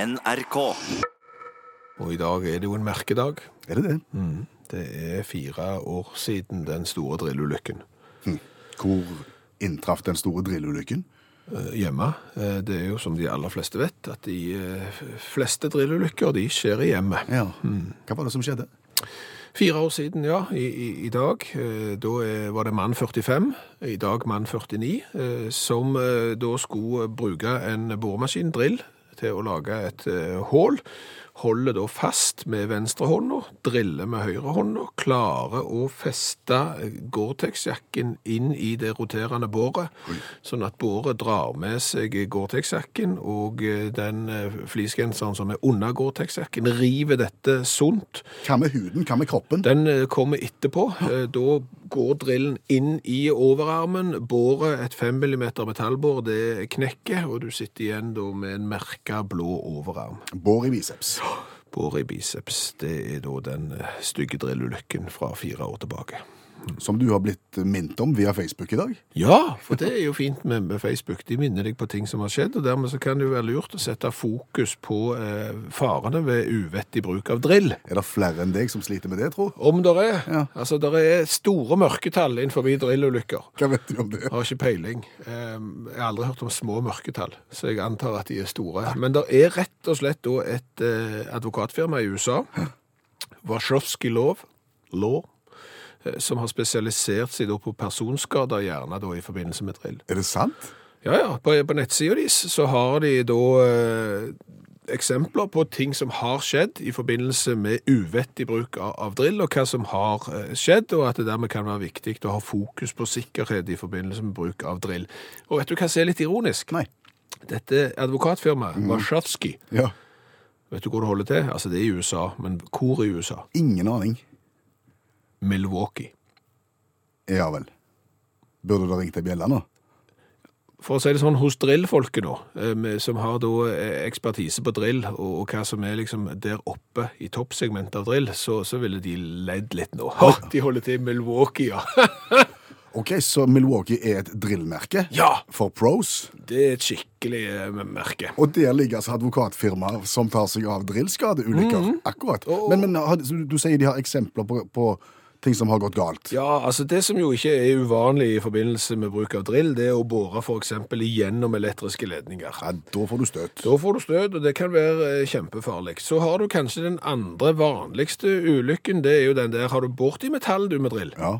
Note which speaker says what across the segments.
Speaker 1: NRK.
Speaker 2: Og i dag er det jo en merkedag.
Speaker 3: Er det det?
Speaker 2: Det er fire år siden den store drillulykken
Speaker 3: Hvor inntraff den store drillulykken?
Speaker 2: eh, hjemme. Eh, Det er jo som de aller fleste vet, at de eh, f- fleste drillulykker de skjer i hjemmet.
Speaker 3: Ja. Hva var det som skjedde?
Speaker 2: Fire år siden, ja, i, i, i dag. Eh, Da eh, var det mann 45, i dag mann 49, eh, som eh, da skulle bruke en boremaskin, drill, til å lage et eh, hål. Holder da fast med venstre hånda, driller med høyre hånda, klarer å feste eh, Gore-Tex-jakken inn i det roterende båret, sånn at båret drar med seg Gore-Tex-jakken, og eh, den eh, fleecegenseren som er under Gore-Tex-jakken, river dette sunt,
Speaker 3: Hva med huden? Hva med kroppen?
Speaker 2: den eh, kommer etterpå. Eh, Da går drillen inn i overarmen. Båret, et 5 mm metallbår, det knekker, og du sitter igjen da med en merka blå overarm.
Speaker 3: Bår i biceps.
Speaker 2: Båret i biceps, det er da den eh, stygge drillulykken fra fire år tilbake.
Speaker 3: Som du har blitt minnet om via Facebook i dag.
Speaker 2: Ja, for det er jo fint med, med Facebook. De minner deg på ting som har skjedd, og dermed så kan det jo være lurt å sette fokus på eh, farene ved uvettig bruk av drill.
Speaker 3: Er det flere enn deg som sliter med det, tro?
Speaker 2: Om det er.
Speaker 3: Ja.
Speaker 2: Altså, det er store mørketall innenfor drillulykker.
Speaker 3: Hva vet du om det?
Speaker 2: Har ikke peiling. Ehm, Jeg har aldri hørt om små mørketall, så jeg antar at de er store. Men det er rett og slett da et eh, advokatfirma i USA, Warszawski Lov, Law, eh, som har spesialisert seg da på personskader, gjerne da i forbindelse med drill.
Speaker 3: Er det sant?
Speaker 2: Ja, ja. På, på nettsida deres så har de da eh, eksempler på ting som har skjedd i forbindelse med uvettig bruk av, av drill, og hva som har eh, skjedd, og at det dermed kan være viktig å ha fokus på sikkerhet i forbindelse med bruk av drill. Og vet du hva som er litt ironisk?
Speaker 3: Nei.
Speaker 2: Dette advokatfirmaet, Warszawski,
Speaker 3: Ja.
Speaker 2: vet du hvor det holder til? Altså, det er i USA, men hvor i USA?
Speaker 3: Ingen aning.
Speaker 2: Milwaukee.
Speaker 3: Ja vel. Burde du ha ringt ei bjelle nå?
Speaker 2: for å si det sånn, hos drillfolket nå, eh, med- som har da eh, ekspertise på drill, og, og hva som er liksom der oppe i toppsegmentet av drill, så, så ville de ledd litt nå. Hå, de holder til i Milwaukee, ja.
Speaker 3: OK, så Milwaukee er et drillmerke
Speaker 2: Ja.
Speaker 3: for pros.
Speaker 2: Det er et skikkelig eh, merke.
Speaker 3: Og der ligger altså advokatfirmaer som tar seg av drillskadeulykker. Akkurat. Men, men har- så du- du sier de har eksempler på, på ting som har gått galt.
Speaker 2: Ja, altså det som jo ikke er uvanlig i forbindelse med bruk av drill, det er å bore for eksempel igjennom elektriske ledninger.
Speaker 3: Ja, da får du støt.
Speaker 2: Da får du støt, og det kan være eh, kjempefarlig. Så har du kanskje den andre vanligste ulykken, det er jo den der, har du borti metall du med drill,
Speaker 3: Ja.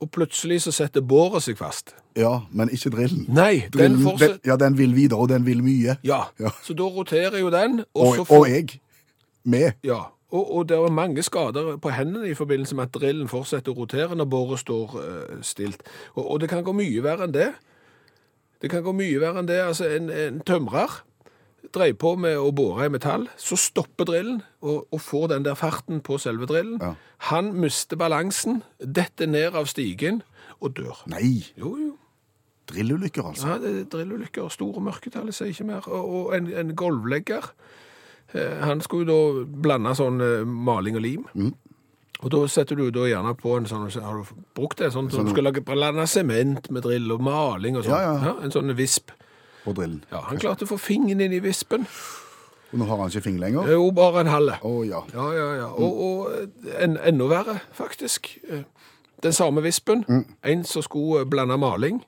Speaker 2: og plutselig så setter båret seg fast.
Speaker 3: ja, men ikke drillen.
Speaker 2: Nei, den
Speaker 3: Drillen,
Speaker 2: fortsetter
Speaker 3: den, ja, den vil videre, og den vil mye.
Speaker 2: ja.
Speaker 3: Ja.
Speaker 2: så da roterer jo den, og,
Speaker 3: Og,
Speaker 2: så
Speaker 3: og jeg med.
Speaker 2: ja. Og, og det er mange skader på hendene i forbindelse med at drillen fortsetter å rotere når båret står eh, stilt. Og, og det kan gå mye verre enn det. Det kan gå mye verre enn det. Altså, en, en tømrer dreier på med å bore i metall, så stopper drillen og, og får den der farten på selve drillen.
Speaker 3: Ja.
Speaker 2: Han mister balansen, detter ned av stigen og dør.
Speaker 3: Nei,
Speaker 2: Jo, jo.
Speaker 3: drillulykker altså.
Speaker 2: Ja, det er drillulykker, store mørketall, jeg sier ikke mer. Og og en, en golvlegger, eh, han skulle jo da blande sånn eh, maling og lim. Og da setter du da gjerne på en sånn, har du brukt det, sånn, som du skal lage, blande sement med drill og maling og sånn.
Speaker 3: Ja, ja.
Speaker 2: en sånn visp.
Speaker 3: På drillen.
Speaker 2: Ja, han klarte å få fingeren inn i vispen.
Speaker 3: Og nå har han ikke fing lenger.
Speaker 2: Det er jo bare en halve.
Speaker 3: Å ja.
Speaker 2: Ja, ja, ja. Og, og en, enda verre, faktisk. Eh, Den samme vispen. En som skulle eh, blande maling.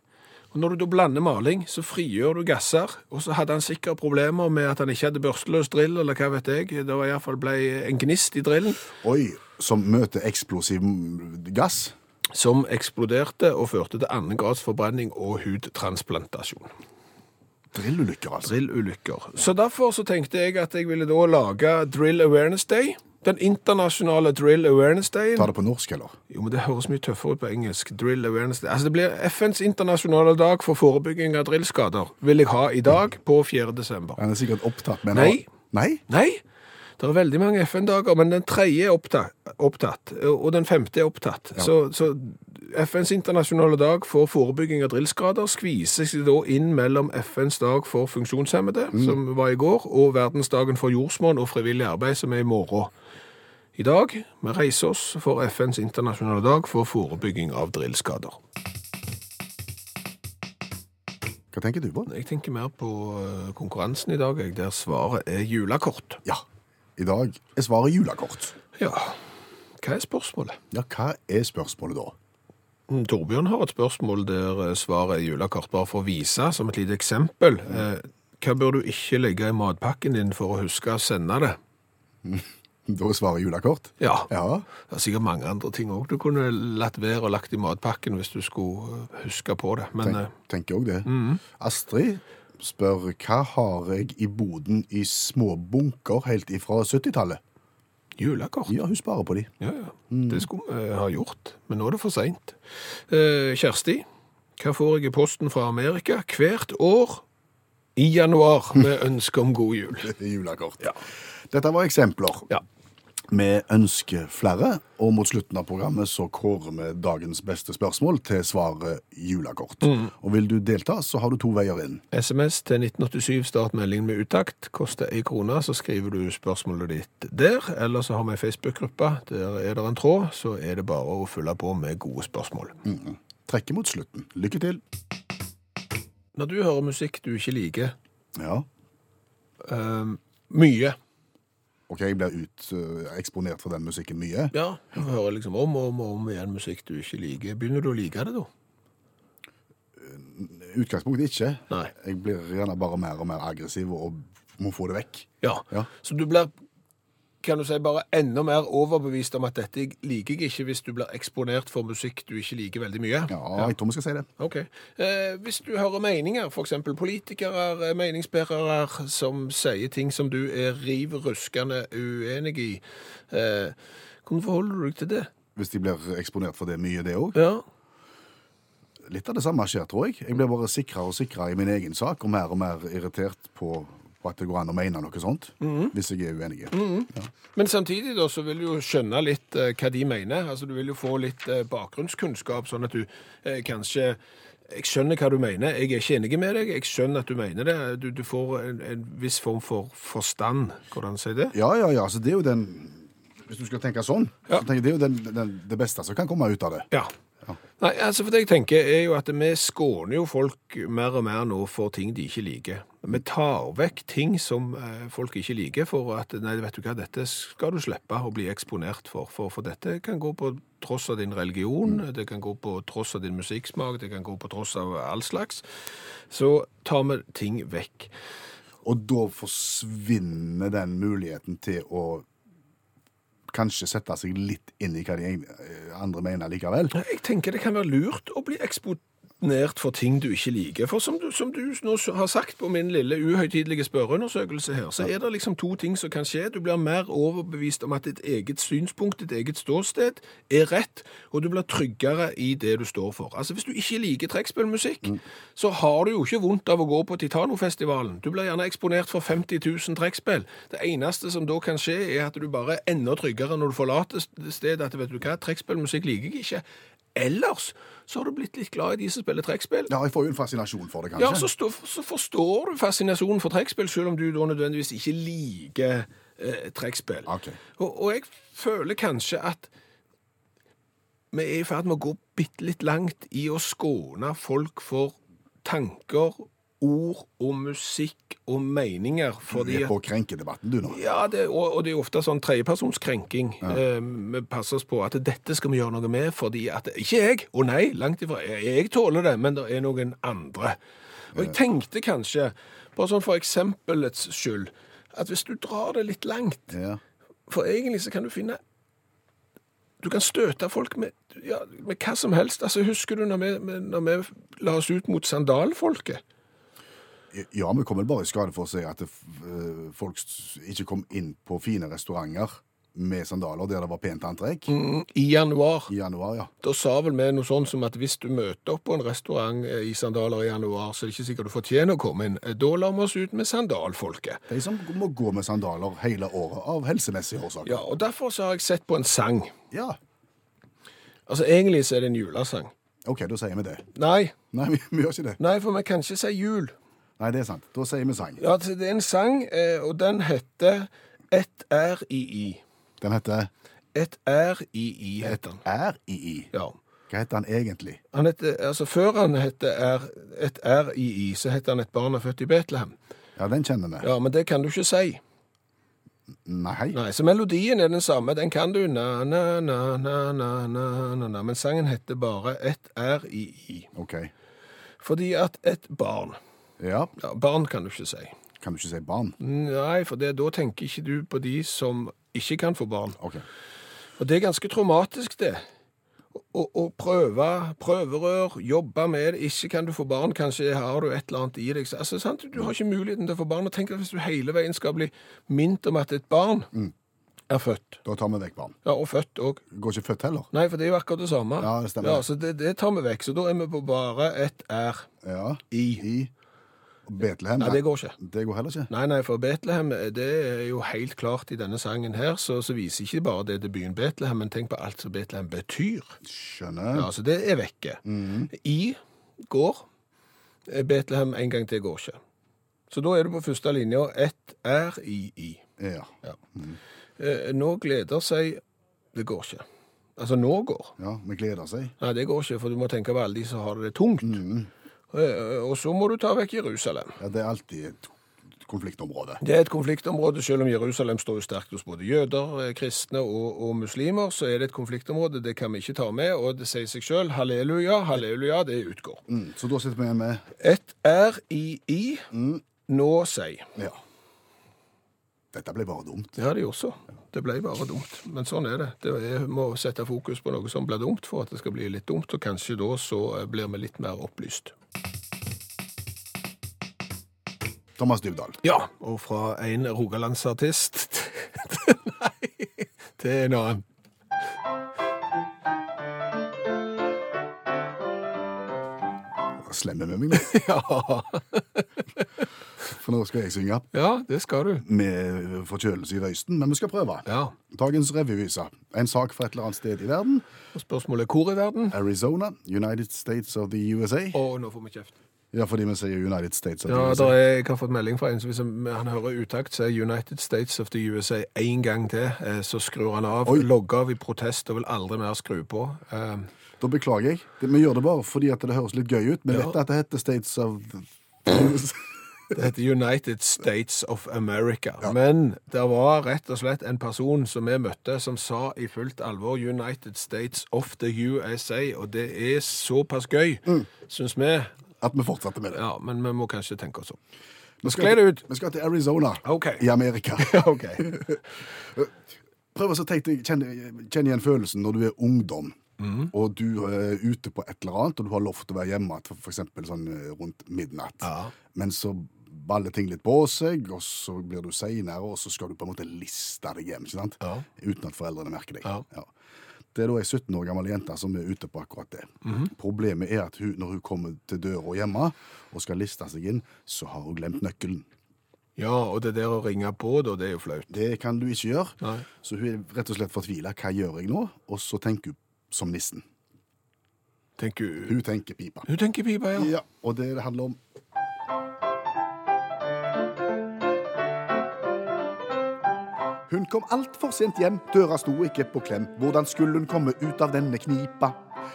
Speaker 2: Og når du da blander maling, så frigjør du gasser. Og så hadde han sikkert problemer med at han ikke hadde børsteløs drill, eller hva vet jeg. Det var iallfall ble en gnist i drillen
Speaker 3: Oi, som møter eksplosiv gass.
Speaker 2: som eksploderte og førte til annen grads forbrenning og hudtransplantasjon.
Speaker 3: Drillulykker altså.
Speaker 2: drillulykker. Så derfor så tenkte jeg at jeg ville da lage Drill Awareness Day. Den internasjonale Drill Awareness Dayen.
Speaker 3: Ta det på norsk, eller?
Speaker 2: Jo, men Det høres mye tøffere ut på engelsk. Drill awareness. Day. Altså, Det blir FNs internasjonale dag for forebygging av drillskader. Vil jeg ha i dag, på 4. desember.
Speaker 3: Han er sikkert opptatt med en
Speaker 2: Nei.
Speaker 3: Nei?
Speaker 2: Nei, det er veldig mange FN-dager, men den tredje er opptatt, opptatt og den femte er opptatt. Så, så FNs internasjonale dag for forebygging av drillskader skviser seg da inn mellom FNs dag for funksjonshemmede, som var i går, og verdensdagen for jordsmonn og frivillig arbeid, som er i morgen. I dag vi reiser oss for FNs internasjonale dag for forebygging av drillskader.
Speaker 3: Hva tenker du på?
Speaker 2: Jeg tenker mer på eh, konkurransen i dag, jeg, der svaret er julekort.
Speaker 3: Ja, i dag er svaret julekort.
Speaker 2: Ja, hva er spørsmålet?
Speaker 3: Ja, hva er spørsmålet da?
Speaker 2: Mm, Torbjørn har et spørsmål der eh, svaret er julekort, bare for å vise som et lite eksempel. Eh, Hva bør du ikke legge i matpakken din for å huske å sende det?
Speaker 3: Da er svaret julekort.
Speaker 2: Ja,
Speaker 3: Ja,
Speaker 2: det er sikkert mange andre ting òg du kunne latt være og lagt i matpakken hvis du skulle eh, huske på det. Men
Speaker 3: tenk,
Speaker 2: eh,
Speaker 3: tenker også det. Astrid spør, hva har jeg i boden i små bunker helt ifra 70-tallet?
Speaker 2: julekort
Speaker 3: Ja, hun sparer på de.
Speaker 2: eh, Ja, ja. Det skulle vi eh, ha gjort, men nå er det for seint. Kjersti, hva får jeg i posten fra Amerika hvert år i januar med ønske om god jul?
Speaker 3: Julekort. Dette var eksempler.
Speaker 2: Ja.
Speaker 3: Vi ønsker flere, og mot slutten av programmet så kårer vi dagens beste spørsmål til svaret julekort. Og vil du delta, så har du to veier inn.
Speaker 2: SMS til 1987, start meldingen med uttakt. Koster ei krone, så skriver du spørsmålet ditt der. Eller så har vi ei Facebook-gruppe. Der er det en tråd, så er det bare å fylle på med gode spørsmål.
Speaker 3: Trekker Mm. mot slutten. Lykke til.
Speaker 2: Når du hører musikk du ikke liker
Speaker 3: Ja,
Speaker 2: eh, mye
Speaker 3: ok, jeg blir ut, eh, eksponert for den musikken mye.
Speaker 2: Ja, du hører liksom om og om, og om igjen musikk du ikke liker. Begynner du å like det, da?
Speaker 3: Utgangspunktet ikke.
Speaker 2: Nei.
Speaker 3: Jeg blir gjerne bare mer og mer aggressiv og må få det vekk.
Speaker 2: Ja.
Speaker 3: Ja.
Speaker 2: Så du blir, kan du si, bare enda mer overbevist om at dette liker jeg ikke hvis du blir eksponert for musikk du ikke liker veldig mye?
Speaker 3: Ja, jeg tror vi skal si det.
Speaker 2: Ok. Eh, hvis du hører meninger, f.eks. politikere, eh, meningsbærere som sier ting som du er riv ruskende uenig i, eh, hvordan forholder du deg til det?
Speaker 3: Hvis de blir eksponert for det mye, det òg.
Speaker 2: Ja.
Speaker 3: Litt av det samme skjer, tror jeg. Jeg blir bare sikrere og sikrere i min egen sak, og mer og mer irritert på, på at det går an å mene noe sånt, hvis jeg er uenig.
Speaker 2: Men samtidig da, så vil du jo skjønne litt eh, hva de mener. Altså, du vil jo få litt eh, bakgrunnskunnskap, sånn at du eh, kanskje Jeg skjønner hva du mener, jeg er ikke enig med deg. Jeg skjønner at du mener det. Du, du får en, en viss form for forstand. Hvordan sier jeg det?
Speaker 3: Ja, ja, ja, så det er jo den Hvis du skal tenke sånn,
Speaker 2: Ja.
Speaker 3: så tenker jeg det er jo den, den, det beste som kan komme ut av det.
Speaker 2: Ja. Nei, altså for det jeg tenker er jo at vi skåner jo folk mer og mer nå for ting de ikke liker. Vi tar vekk ting som eh, folk ikke liker for at, nei, vet du hva, dette skal du slippe å bli eksponert for, for, for dette kan gå på tross av din religion, det kan gå på tross av din musikksmak, det kan gå på tross av all slags. Så tar vi ting vekk.
Speaker 3: Og da forsvinner den muligheten til å kanskje sette seg litt inn i hva de egne- eh, andre mener likevel.
Speaker 2: Ja, Jeg tenker det kan være lurt å bli eksponert for ting du ikke liker. For som du, som du nå har sagt på min lille uhøytidelige spørreundersøkelse her, så er det liksom to ting som kan skje. Du blir mer overbevist om at ditt eget synspunkt, ditt eget ståsted, er rett, og du blir tryggere i det du står for. Altså hvis du ikke liker trekkspillmusikk, så har du jo ikke vondt av å gå på Titanofestivalen. Du blir gjerne eksponert for 50 000 trekkspill. Det eneste som da kan skje, er at du bare er enda tryggere når du forlater stedet, at vet du hva, trekkspillmusikk liker jeg ikke. Ellers så har du blitt litt glad i de som spiller trekkspill.
Speaker 3: Ja, jeg får jo en fascinasjon for det, kanskje.
Speaker 2: Ja, så, stå, så forstår du fascinasjonen for trekkspill, selv om du da nødvendigvis ikke liker eh, trekkspill.
Speaker 3: Ok.
Speaker 2: Og, og jeg føler kanskje at vi er i ferd med å gå bitte litt langt i å skåne folk for tanker, ord og musikk og meninger,
Speaker 3: Du
Speaker 2: fordi
Speaker 3: er
Speaker 2: at
Speaker 3: på krenkedebatten, du nå.
Speaker 2: ja, det, og, og det er jo ofte sånn tredjepersonskrenking. Eh, Vi passer oss på at dette skal vi gjøre noe med, fordi at Ikke jeg! Å nei, langt ifra. Jeg, jeg tåler det, men det er noen andre. Og jeg tenkte kanskje, bare sånn for eksempelets skyld, at hvis du drar det litt langt
Speaker 3: Ja.
Speaker 2: For egentlig så kan du finne Du kan støte folk med, ja, med hva som helst. Altså, Husker du når vi, når vi la oss ut mot sandalfolket?
Speaker 3: ja, vi kommer bare i skade for å si at det, f- eh, folk s- ikke kom inn på fine restauranter med sandaler der det var pent antrekk
Speaker 2: Mm, I januar.
Speaker 3: i januar, ja.
Speaker 2: Da sa vel vi noe sånn som at hvis du møter opp på en restaurant eh, i sandaler i januar, så er det ikke sikkert du fortjener å komme inn. Eh, Da lar vi oss ut med sandalfolket.
Speaker 3: De som må gå med sandaler hele året av helsemessige årsaker.
Speaker 2: Ja, og derfor så har jeg sett på en sang.
Speaker 3: Ja.
Speaker 2: Altså, egentlig så er det en julesang.
Speaker 3: OK, da sier vi det.
Speaker 2: Nei,
Speaker 3: Nei, vi, vi gjør ikke det.
Speaker 2: nei, for vi kan ikke si jul.
Speaker 3: Nei, det er sant. Da sier vi sang.
Speaker 2: Ja, altså, det er en sang, eh, og den heter Et er i i.
Speaker 3: Den heter
Speaker 2: Et er i i, heter den.
Speaker 3: Er i i.
Speaker 2: Ja.
Speaker 3: Hva heter han egentlig?
Speaker 2: Han het, altså Før han het R, et RII, så het han et barn er født i Betlehem.
Speaker 3: Ja, den kjenner vi.
Speaker 2: Ja, Men det kan du ikke si.
Speaker 3: Nei.
Speaker 2: Nei, Så melodien er den samme. Den kan du. Na, na, na, na, na, na, na, na. Men sangen heter bare et RII.
Speaker 3: OK.
Speaker 2: Fordi at et barn
Speaker 3: Ja,
Speaker 2: ja, Barn kan du ikke si.
Speaker 3: kan du ikke si barn?
Speaker 2: Nei, for det, da tenker ikke du på de som ikke kan få barn.
Speaker 3: OK.
Speaker 2: Og det er ganske traumatisk, det. Å, å prøve prøverør, jobbe med det. Ikke kan du få barn, kanskje har du et eller annet i deg. Så- Altså, sant? Du har ikke muligheten til å få barn. Og tenk deg hvis du hele veien skal bli minnet om at et barn er født.
Speaker 3: Da tar vi vekk barn.
Speaker 2: Ja, og født òg.
Speaker 3: Går ikke født heller.
Speaker 2: Nei, for det er jo akkurat det samme.
Speaker 3: Ja, det stemmer.
Speaker 2: Ja, så det, det tar vi vekk. Så da er vi på bare et r.
Speaker 3: Ja.
Speaker 2: I.
Speaker 3: Betlehem.
Speaker 2: Nei, det går ikke.
Speaker 3: Det går heller ikke.
Speaker 2: Nei, nei, for Betlehem det er jo helt klart i denne sangen her, så, så viser ikke bare det til byen Betlehem, men tenk på alt som Betlehem betyr.
Speaker 3: Skjønner. Mm.
Speaker 2: Ja, så det er vekke. I går. Betlehem en gang til går ikke. Så da er du på første linja. Ett er i i.
Speaker 3: Ja.
Speaker 2: Ja. Eh, Nå gleder seg Det går ikke. Altså, nå går.
Speaker 3: ja. Vi gleder seg.
Speaker 2: Nei, det går ikke, for du må tenke på alle de som har det tungt. Eh, Og så må du ta vekk Jerusalem.
Speaker 3: Mm. Ja, det er alltid et konfliktområde.
Speaker 2: Det er et konfliktområde, selv om Jerusalem står jo sterkt hos både jøder, eh, kristne og, og muslimer, så er det et konfliktområde, det kan vi ikke ta med, og det sier seg selv, halleluja, halleluja, det utgår.
Speaker 3: Mm. Så da sitter vi igjen med
Speaker 2: Et er i i, nå si.
Speaker 3: Ja. Dette ble bare dumt.
Speaker 2: Det har de også. Det ble bare dumt. Men sånn er det. det er, må sette fokus på noe som blir dumt, for at det skal bli litt dumt, og kanskje da så eh, blir vi litt mer opplyst.
Speaker 3: Thomas Dybdahl.
Speaker 2: Ja, og fra en rogalandsartist til- Nei, til en annen.
Speaker 3: Slemme med meg nå,
Speaker 2: Ja.
Speaker 3: for nå skal jeg synge
Speaker 2: ja, det skal du.
Speaker 3: med forkjølelse i røysten, men vi skal prøve.
Speaker 2: Ja.
Speaker 3: Dagens revyvise. En sak fra et eller annet sted i verden.
Speaker 2: Og spørsmålet er hvor i verden?
Speaker 3: Arizona, United States of the USA.
Speaker 2: Å, nå får vi kjeft.
Speaker 3: Ja, fordi vi sier United States of
Speaker 2: Ja,
Speaker 3: the
Speaker 2: der
Speaker 3: USA.
Speaker 2: er, Jeg har fått melding fra en som hvis han han hører utakt, så er United States of the USA én gang til. eh, Så skrur han av,
Speaker 3: Oi.
Speaker 2: logger av i protest og vil aldri mer skru på. Eh,
Speaker 3: Da beklager jeg. Det- Vi gjør det bare fordi at det høres litt gøy ut. Vi vet at det heter States of
Speaker 2: Det heter United States of America. Men det var rett og slett en person som vi møtte, som sa i fullt alvor United States of the USA, og det er såpass gøy, syns vi.
Speaker 3: At vi fortsatte med det.
Speaker 2: Ja, men vi må kanskje tenke oss om.
Speaker 3: Vi
Speaker 2: Gled
Speaker 3: til-
Speaker 2: ut.
Speaker 3: Vi skal til Arizona
Speaker 2: Ok.
Speaker 3: i Amerika.
Speaker 2: OK.
Speaker 3: Prøv å så tenke deg- kjenn, kjenn igjen følelsen når du er ungdom.
Speaker 2: Mhm.
Speaker 3: Og du er ute på et eller annet, og du har lovt å være hjemme til f.eks. Sånn eh, rundt midnatt.
Speaker 2: Ja.
Speaker 3: Men så baller ting litt på seg, og så blir du seinere, og så skal du på en måte liste deg hjem. ikke sant?
Speaker 2: Ja.
Speaker 3: Uten at foreldrene merker deg.
Speaker 2: Ja.
Speaker 3: Det er da ei 17 år gammel jente som er ute på akkurat det.
Speaker 2: Mhm.
Speaker 3: Problemet er at hun, når hun kommer til døra hjemme og skal liste seg inn, så har hun glemt nøkkelen.
Speaker 2: Ja, og det der å ringe på, da, det er jo flaut.
Speaker 3: Det kan du ikke gjøre.
Speaker 2: Nei.
Speaker 3: Så hun er rett og slett fortvila. Hva gjør jeg nå? Og så tenker hun som nissen.
Speaker 2: Tenker hun
Speaker 3: Hun tenker pipa.
Speaker 2: Hun tenker pipa, ja.
Speaker 3: Ja, og det det handler om Hun kom altfor sent hjem, døra sto ikke på klem. Hvordan skulle hun komme ut av denne knipa?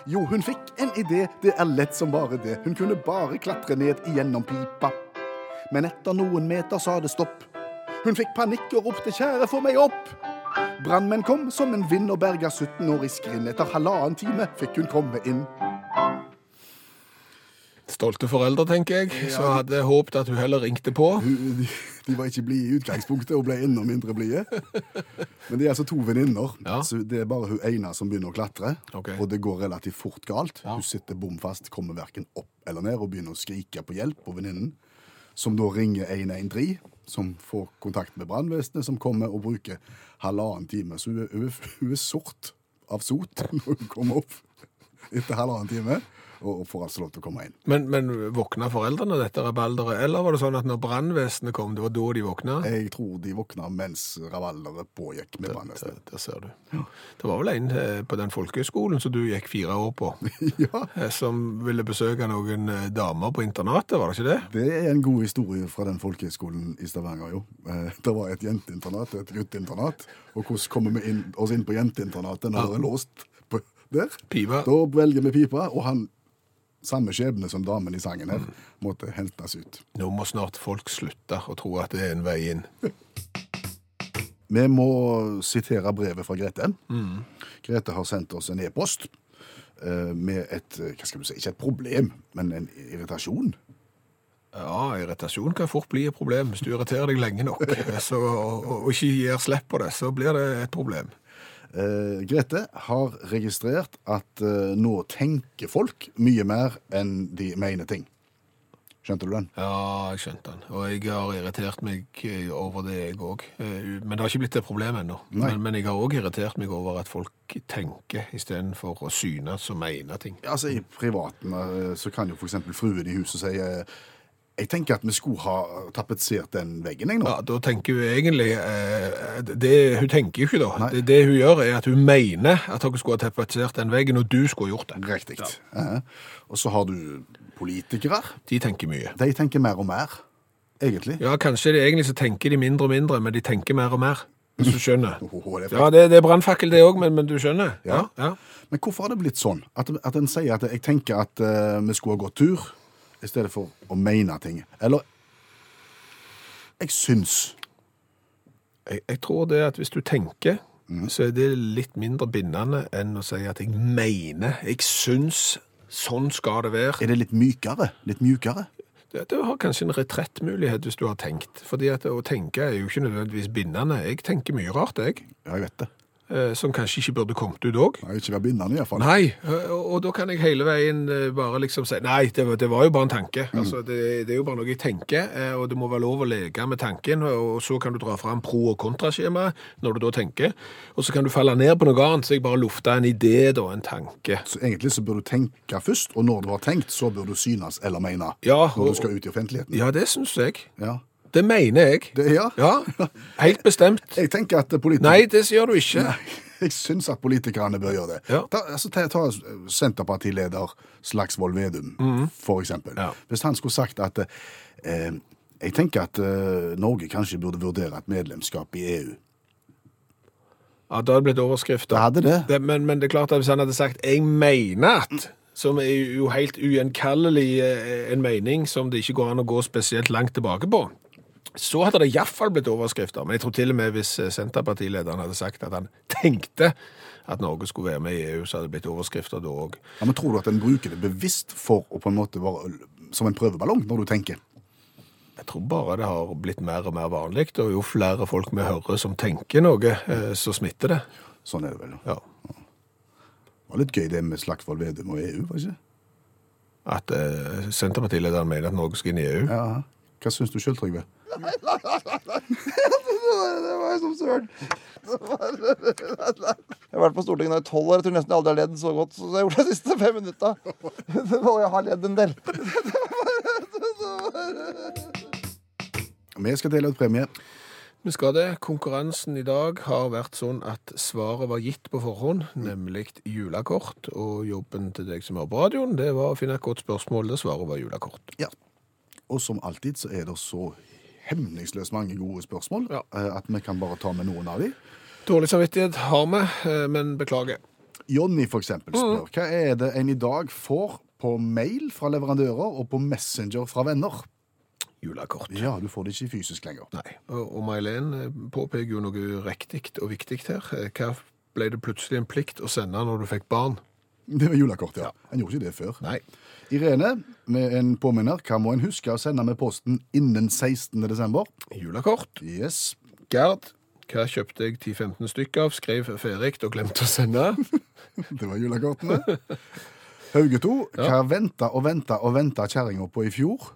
Speaker 3: Jo, hun fikk en idé, det er lett som bare det. Hun kunne bare klatre ned igjennom pipa. Men etter noen meter sa det stopp. Hun fikk panikk og ropte 'kjære, få meg opp'. Brannmenn kom som en vind og berga 17 år i skrinn. Etter halvannen time fikk hun komme inn.
Speaker 2: Stolte foreldre, tenker jeg, som hadde håpet at hun heller ringte på.
Speaker 3: Hun- De, de var ikke blide i utgangspunktet og ble enda mindre blide. Men de er altså to venninner,
Speaker 2: Ja.
Speaker 3: så det er bare hun ene som begynner å klatre.
Speaker 2: Ok.
Speaker 3: Og det går relativt fort galt.
Speaker 2: Ja.
Speaker 3: Hun sitter bom fast, kommer verken opp eller ned, og begynner å skrike på hjelp på venninnen, som da ringer 113, som får kontakt med brannvesenet, som kommer og bruker halvannen time. Så hun er, hun er, hun er sort av sot når hun kommer opp etter halvannen time, og, og får altså lov til å komme inn.
Speaker 2: Men, men våkna foreldrene dette rabalderet, eller var det sånn at når brannvesenet kom, det var da de våkna?
Speaker 3: Jeg tror de våkna mens ravalderet pågikk med brannvesenet.
Speaker 2: Der, der ser du. Det var vel en eh, på den folkehøyskolen som du gikk fire år på,
Speaker 3: Ja,
Speaker 2: eh, som ville besøke noen eh, damer på internatet, var det ikke det?
Speaker 3: det er en god historie fra den folkehøyskolen i Stavanger, jo. Eh, Det var et jenteinternat og et gutteinternat. Og hvordan kommer vi inn, oss inn på jenteinternat når det er låst på, der.
Speaker 2: Piva.
Speaker 3: Da velger vi pipa, og han samme skjebne som damen i sangen her, måtte hentes ut.
Speaker 2: Nå må snart folk slutte å tro at det er en vei inn.
Speaker 3: Vi må sitere brevet fra Grete. Grete har sendt oss en e-post eh, med et eh, hva skal du si, ikke et problem, men en irritasjon.
Speaker 2: Ja, irritasjon kan fort bli et problem. Hvis du irriterer deg lenge nok så, og, og ikke gir slipp på det, så blir det et problem.
Speaker 3: Eh, Grete har registrert at eh, nå tenker folk mye mer enn de mener ting. Skjønte du den?
Speaker 2: Ja, jeg skjønte den. Og jeg har irritert meg eh, over det, jeg òg. Men det har ikke blitt et problem ennå.
Speaker 3: Nei.
Speaker 2: Men, men jeg har òg irritert meg over at folk tenker istedenfor å synes og mene ting.
Speaker 3: Ja, Altså, I privaten eh, så kan jo f.eks. fruen i huset si eh, Jeg tenker at vi skulle ha tapetsert den veggen, jeg, nå.
Speaker 2: Ja, da tenker hun egentlig eh, det, Hun tenker jo ikke, da. Det, det hun gjør, er at hun mener at dere skulle ha tapetsert den veggen, og du skulle ha gjort det.
Speaker 3: Riktig. Ja. Og så har du politikere.
Speaker 2: De tenker mye.
Speaker 3: De tenker mer og mer, egentlig.
Speaker 2: Ja, kanskje det egentlig så tenker de mindre og mindre, men de tenker mer og mer. Hvis du skjønner.
Speaker 3: Åh, det er
Speaker 2: Ja, det, det er brannfakkel det òg, men, men du skjønner?
Speaker 3: Ja.
Speaker 2: ja.
Speaker 3: Men hvorfor har det blitt sånn? At, at en sier at jeg tenker at eh, vi skulle ha gått tur, i stedet for å mene ting. Eller jeg syns
Speaker 2: Jeg, jeg tror det at hvis du tenker, så er det litt mindre bindende enn å si at jeg mener, jeg syns, sånn skal det være.
Speaker 3: Er det litt mykere? Litt mjukere?
Speaker 2: Det, det har kanskje en retrettmulighet hvis du har tenkt, fordi at å tenke er jo ikke nødvendigvis bindende. Jeg tenker mye rart, jeg,
Speaker 3: Ja, jeg vet det.
Speaker 2: eh, som kanskje ikke burde kommet ut òg.
Speaker 3: Jeg vil ikke være bindende, iallfall.
Speaker 2: Nei, eh, og, og da kan jeg hele veien eh, bare liksom si Nei, det, var- det var jo bare en tanke. Altså, det, det er jo bare noe jeg tenker, eh, og det må være lov å leke med tanken. Og og så kan du dra fram pro- og kontraskjemaet når du da tenker. Og så kan du falle ned på noe annet, så jeg bare lufta en idé, da, en tanke.
Speaker 3: Så egentlig så bør du tenke først, og når du har tenkt, så bør du synes eller mene.
Speaker 2: Ja,
Speaker 3: når
Speaker 2: og-
Speaker 3: du skal ut i offentligheten.
Speaker 2: Ja, det syns jeg.
Speaker 3: Ja.
Speaker 2: Det mener jeg.
Speaker 3: Det, ja.
Speaker 2: Ja, helt bestemt.
Speaker 3: Jeg tenker at politikere
Speaker 2: Nei, det gjør du ikke.
Speaker 3: Jeg syns at politikerne bør gjøre det.
Speaker 2: Ja.
Speaker 3: Ta, altså, ta, ta Senterpartileder Slagsvold Vedum, for eksempel.
Speaker 2: Mhm. Ja.
Speaker 3: Hvis han skulle sagt at eh, Jeg tenker at eh, Norge kanskje burde vurdere et medlemskap i E EU.
Speaker 2: Ja, Da hadde det blitt overskrifter.
Speaker 3: Da hadde det.
Speaker 2: Det, men, men det er klart at hvis han hadde sagt 'jeg mener at', som er jo helt ugjenkallelig eh, en mening som det ikke går an å gå spesielt langt tilbake på, så hadde det iallfall blitt overskrifter. Men jeg tror til og med hvis eh, Senterpartilederen hadde sagt at han tenkte at Norge skulle være med i EU, så hadde det blitt overskrifter da òg.
Speaker 3: Ja, men tror du at en bruker det bevisst for å på en måte være som en prøveballong, når du tenker?
Speaker 2: Jeg tror bare det har blitt mer og mer vanlig, og jo flere folk vi hører som tenker noe, eh, så smitter det.
Speaker 3: Sånn er det vel.
Speaker 2: Ja.
Speaker 3: Det var litt gøy det med Slagsvold Vedum og EU, var det ikke?
Speaker 2: At eh, Senterpartilederen mener at Norge skal inn i E EU.
Speaker 3: Ja. Hva syns du sjøl, Trygve?
Speaker 1: Det var jo som søren. Det var- Jeg har vært på Stortinget nå i tolv år. Jeg tror nesten jeg aldri har ledd så godt som jeg gjorde de siste fem minutta. Og jeg har ledd en del.
Speaker 3: Vi skal dele ut premie.
Speaker 2: Vi skal det. Konkurransen i dag har vært sånn at svaret var gitt på forhånd, nemlig julekort. Og jobben til deg som hører på radioen, det var å finne et godt spørsmål der svaret var julekort.
Speaker 3: Ja. Og som alltid så er det så hemningsløst mange gode spørsmål
Speaker 2: Ja.
Speaker 3: eh, at vi kan bare ta med noen av dem.
Speaker 2: Dårlig samvittighet har vi, eh, men beklager.
Speaker 3: Jonny for eksempel spør hva er det en i dag får på mail fra leverandører og på Messenger fra venner.
Speaker 2: Julekort.
Speaker 3: Ja, du får det ikke fysisk lenger.
Speaker 2: Nei. Og og May-Len eh, påpeker jo noe riktig og viktig her. Eh, Hva ble det plutselig en plikt å sende når du fikk barn?
Speaker 3: Det var julekort, ja. En gjorde ikke det før.
Speaker 2: Nei.
Speaker 3: Irene, med en påminner, hva må en huske å sende med posten innen 16. desember?
Speaker 2: Julekort.
Speaker 3: Yes.
Speaker 2: Gerd. Hva kjøpte jeg 10-15 stykker av, skrev ferdig og glemte å sende?
Speaker 3: Det var julekortene. Hauge 2, hva venta og venta og venta kjerringa på i fjor?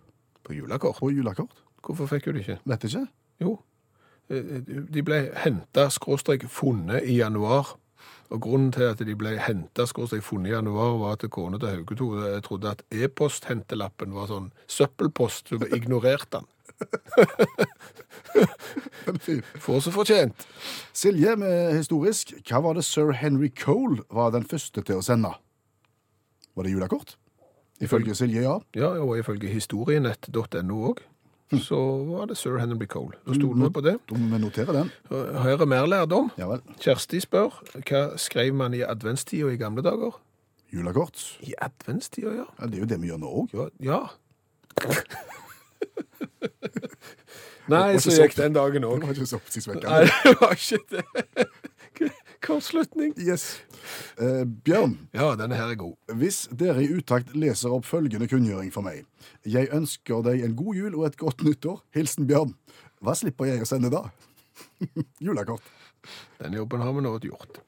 Speaker 2: På julekort.
Speaker 3: På julekort?
Speaker 2: Hvorfor fikk hun det ikke?
Speaker 3: Vet ikke.
Speaker 2: Jo, eh, de ble henta skråstrek funnet i januar. Og grunnen til at de ble henta skråstrek funnet i januar, var at kona til Hauge to eh, trodde at e-posthentelappen var sånn søppelpost. Hun ignorerte den. Får så fortjent.
Speaker 3: Silje, med historisk, hva var det sir Henry Cole var den første til å sende? Var det julekort? Ifølge Silje, ja.
Speaker 2: Ja, og ifølge historienett.no òg. så var det sir Henry Cole. Da stoler vi på det.
Speaker 3: Da må vi notere den.
Speaker 2: Her er mer lærdom.
Speaker 3: Ja vel.
Speaker 2: Kjersti spør hva skrev man i adventstida i gamle dager?
Speaker 3: Julekort.
Speaker 2: I adventstida, ja.
Speaker 3: Ja, det er jo det vi gjør nå òg.
Speaker 2: Ja. ja. Nei,
Speaker 3: Det var ikke
Speaker 2: så
Speaker 3: så-
Speaker 2: gikk den dagen
Speaker 3: Det
Speaker 2: òg.
Speaker 3: var ikke så oppsiktsvekkende.
Speaker 2: Nei, det var ikke det. Kortslutning.
Speaker 3: Yes. Eh, Bjørn,
Speaker 2: Ja, denne her er god.
Speaker 3: hvis dere i utakt leser opp følgende kunngjøring for meg. Jeg ønsker deg en god jul og et godt nyttår. Hilsen Bjørn. Hva slipper jeg å sende da? Julekort.
Speaker 2: Den jobben har vi nå gjort.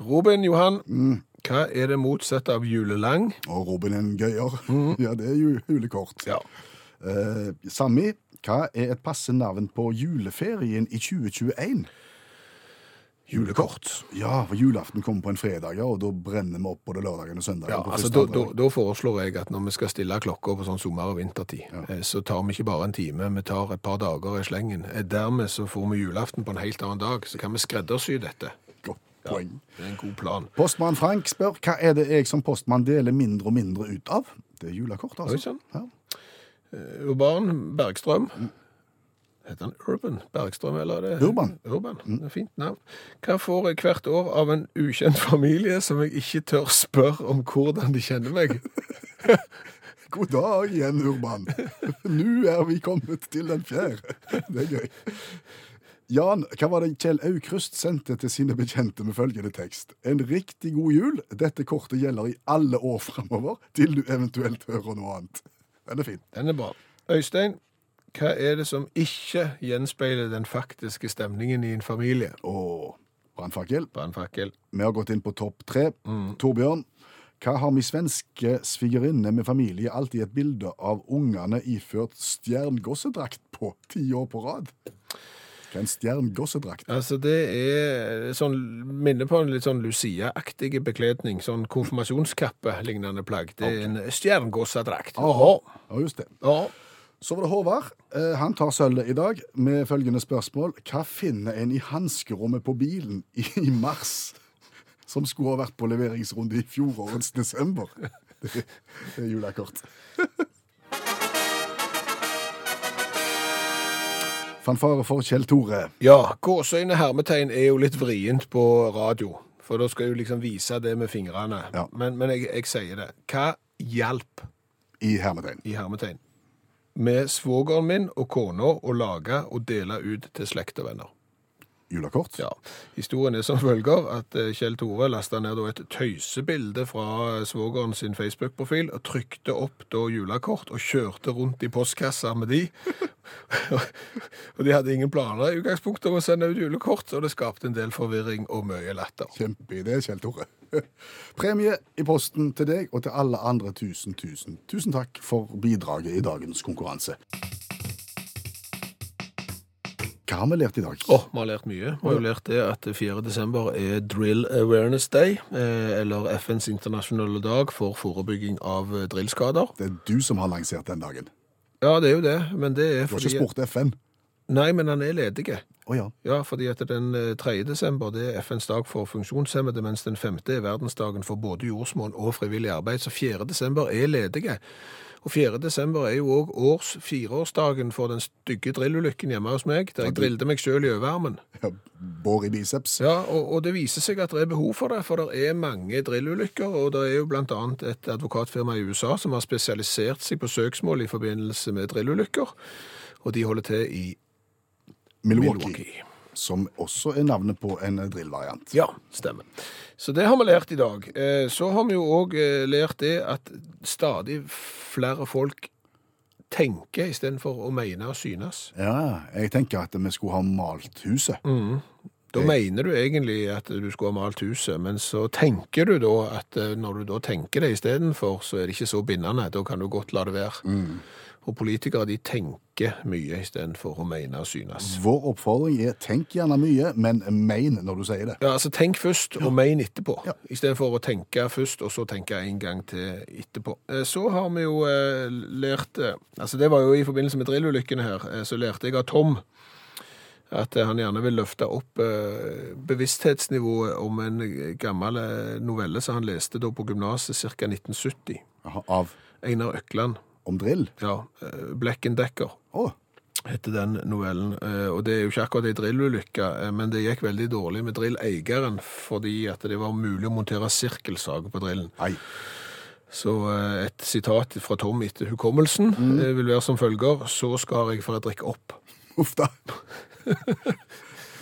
Speaker 2: Robin Johan,
Speaker 3: Mm.
Speaker 2: hva er det motsatte av julelang?
Speaker 3: Og Robin en gøyer. Ja, det er ju julekort.
Speaker 2: Ja.
Speaker 3: Eh, Sami, hva er et passe navn på juleferien i 2021?
Speaker 2: Julekort.
Speaker 3: Ja, for julaften kommer på en fredag, ja, og da brenner vi opp både lørdagen og søndagen.
Speaker 2: Ja,
Speaker 3: på
Speaker 2: altså,
Speaker 3: første
Speaker 2: da, da,
Speaker 3: halvdag.
Speaker 2: da foreslår jeg at når vi skal stille klokka på sånn sommer- og vintertid, eh, så tar vi ikke bare en time, vi tar et par dager i slengen. Eh, Dermed så får vi julaften på en helt annen dag, så kan vi skreddersy dette.
Speaker 3: Godt poeng.
Speaker 2: Det er en god plan.
Speaker 3: Postmann Frank spør hva er det jeg som postmann deler mindre og mindre ut av? Det er julekort, altså.
Speaker 2: Oi, sann.
Speaker 3: Ja.
Speaker 2: Urban Bergstrøm. Heter han Urban Bergstrøm, eller er det
Speaker 3: Urban. Mm.
Speaker 2: Urban. Det er Fint navn. Hva får jeg hvert år av en ukjent familie som jeg ikke tør spørre om hvordan de kjenner meg?
Speaker 3: God dag igjen, Urban. Nå er vi kommet til den fjerde. Det er gøy. Jan, hva var det Kjell Aukrust sendte til sine bekjente med følgende tekst? En riktig god jul. Dette kortet gjelder i alle år framover, til du eventuelt hører noe annet. Den er fin.
Speaker 2: Den er bra. Øystein, hva er det som ikke gjenspeiler den faktiske stemningen i en familie?
Speaker 3: Og brannfakkel.
Speaker 2: Brannfakkel.
Speaker 3: Vi har gått inn på topp tre. Torbjørn, hva har min svenske svigerinne med familie alltid et bilde av ungene iført stjerngossedrakt på ti år på rad? Hva er en stjerngossedrakt?
Speaker 2: Altså, det er sånn, minner på en litt sånn Lucia-aktig bekledning. Sånn konfirmasjonskappe-lignende plagg. Det er en stjerngossadrakt.
Speaker 3: Aha. Ja, just det.
Speaker 2: Ja.
Speaker 3: Så var det Håvard. Eh, Han tar sølvet i dag med følgende spørsmål. Hva finner en i hanskerommet på bilen i i mars, som skulle ha vært på leveringsrunde i fjorårets desember? Det det er julekort. Fanfare for Kjell Tore.
Speaker 2: Ja, gåseøyne hermetegn er jo litt vrient på radio, for da skal du liksom vise det med fingrene.
Speaker 3: Ja.
Speaker 2: Men, men jeg, jeg sier det. Hva hjalp
Speaker 3: i hermetegn.
Speaker 2: i hermetegn med svogeren min og kona å lage og dele ut til slekt og venner?
Speaker 3: Julekort.
Speaker 2: Ja, Historien er som følger at eh, Kjell Tore lasta ned da et tøysebilde fra eh, svogeren sin Facebook-profil og trykte opp da julekort og kjørte rundt i postkassa med de. og de hadde ingen planer i utgangspunktet om å sende ut julekort, og det skapte en del forvirring og mye latter.
Speaker 3: Kjempeidé, Kjell Tore. Premie i posten til deg og til alle andre tusen, tusen, tusen takk for bidraget i dagens konkurranse. Hva har vi lært i dag?
Speaker 2: Åh, Vi har lært mye. Vi har jo lært det at 4. desember er Drill Awareness Day, eh, eller FNs internasjonale dag for forebygging av eh, drillskader.
Speaker 3: Det er du som har lansert den dagen.
Speaker 2: Ja, det er jo det, men det er
Speaker 3: Du har ikke
Speaker 2: fordi
Speaker 3: spurt FN.
Speaker 2: Nei, men han er ledig.
Speaker 3: Å ja.
Speaker 2: Ja, fordi at den eh, 3. desember det er FNs dag for funksjonshemmede, mens den 5. er verdensdagen for både jordsmonn og frivillig arbeid. Så 4. desember er ledige. Og 4. desember er jo òg års fireårsdagen for den stygge drillulykken hjemme hos meg, der jeg drillte meg sjøl i øyearmen.
Speaker 3: ja. Bår i biceps.
Speaker 2: Ja, og, og det viser seg at det er behov for det, for det er mange drillulykker, og det er jo blant annet et advokatfirma i USA som har spesialisert seg på søksmål i forbindelse med drillulykker, og de holder til i
Speaker 3: Milwaukee,
Speaker 2: Milwaukee.
Speaker 3: Som også er navnet på en drillvariant.
Speaker 2: Ja, stemmer. Så det har vi lært i dag. Eh, Så har vi jo òg lært det at stadig flere folk tenker istedenfor å mene og synes.
Speaker 3: Ja, jeg tenker at vi skulle ha malt huset.
Speaker 2: Da mener du egentlig at du skulle ha malt huset, men så tenker du da at eh, når du da tenker det istedenfor, så er det ikke så bindende. Da kan du godt la det være. Og politikere de tenker mye istedenfor å mene og synes.
Speaker 3: Vår oppfordring er tenk gjerne mye, men mein når du sier det.
Speaker 2: Ja, altså Tenk først og mein etterpå,
Speaker 3: Ja.
Speaker 2: istedenfor å tenke først og så tenke en gang til etterpå. Eh, Så har vi jo eh, lært eh, altså Det var jo i forbindelse med drillulykkene her, eh, så lærte jeg av Tom at eh, han gjerne vil løfte opp eh, bevissthetsnivået om en gammel eh, novelle som han leste da på gymnaset ca. 1970.
Speaker 3: Av
Speaker 2: Einar Økland.
Speaker 3: om drill.
Speaker 2: Ja, eh, Black and Decker.
Speaker 3: Å,
Speaker 2: heter den novellen. Eh, Og det er jo ikke akkurat ei drillulykke, eh, men det gikk veldig dårlig med drilleieren fordi at det var mulig å montere sirkelsag på drillen.
Speaker 3: Nei.
Speaker 2: Så eh, et sitat fra Tom etter hukommelsen eh, vil være som følger Så skar jeg for å drikke opp.
Speaker 3: Uff da.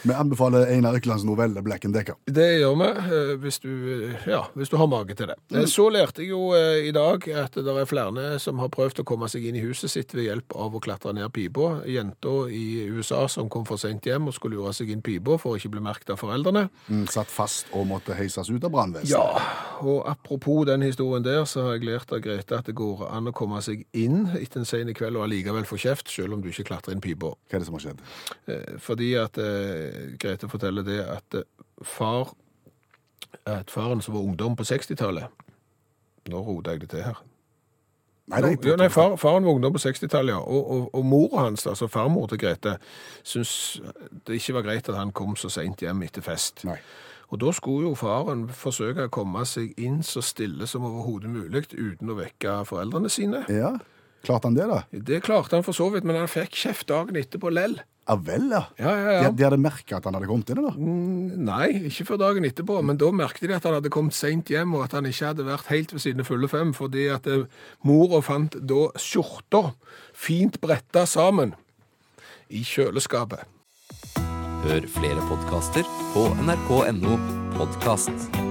Speaker 3: Vi anbefaler Einar Øklands novelle 'Black and Decker'.
Speaker 2: Det gjør vi, eh, hvis du, eh, ja, hvis du har mage til det. Eh, Så lærte jeg jo eh, i dag at det er flere som har prøvd å komme seg inn i huset sitt ved hjelp av å klatre ned pipa. Jenter i USA som kom for sent hjem og skulle lure seg inn pipa for å ikke bli merket av foreldrene.
Speaker 3: Mm, satt fast og måtte heises ut av brannvesenet.
Speaker 2: Ja, og apropos den historien der, så har jeg lært av Grete at det går an å komme seg inn etter en sen kveld og allikevel få kjeft, selv om du ikke klatrer inn pipa.
Speaker 3: Hva er det som har skjedd?
Speaker 2: Eh, Fordi at eh, Grete forteller det at eh, far At faren som var ungdom på 60-tallet Nå roter jeg det til her.
Speaker 3: Nei,
Speaker 2: Jo, jo, nei, far, Faren var ungdom på 60-tallet, ja. Og, og, og mora hans, altså farmor til Grete, syntes det ikke var greit at han kom så seint hjem etter fest.
Speaker 3: Nei.
Speaker 2: Og da skulle jo faren forsøke å komme seg inn så stille som overhodet mulig uten å vekke foreldrene sine.
Speaker 3: Ja, klarte han det, da?
Speaker 2: Det klarte han for så vidt, men han fikk kjeft dagen etterpå lell.
Speaker 3: Ja vel, ja.
Speaker 2: Ja, ja, ja.
Speaker 3: De, de hadde merka at han hadde kommet inn, da?
Speaker 2: Nei, ikke før dagen etterpå, men da merkte de at han hadde kommet sent hjem, og at han ikke hadde vært helt ved sine fulle fem, fordi at eh, mora fant da skjorter fint bretta sammen i kjøleskapet.
Speaker 4: Hør flere podkaster på nrk.no podkast.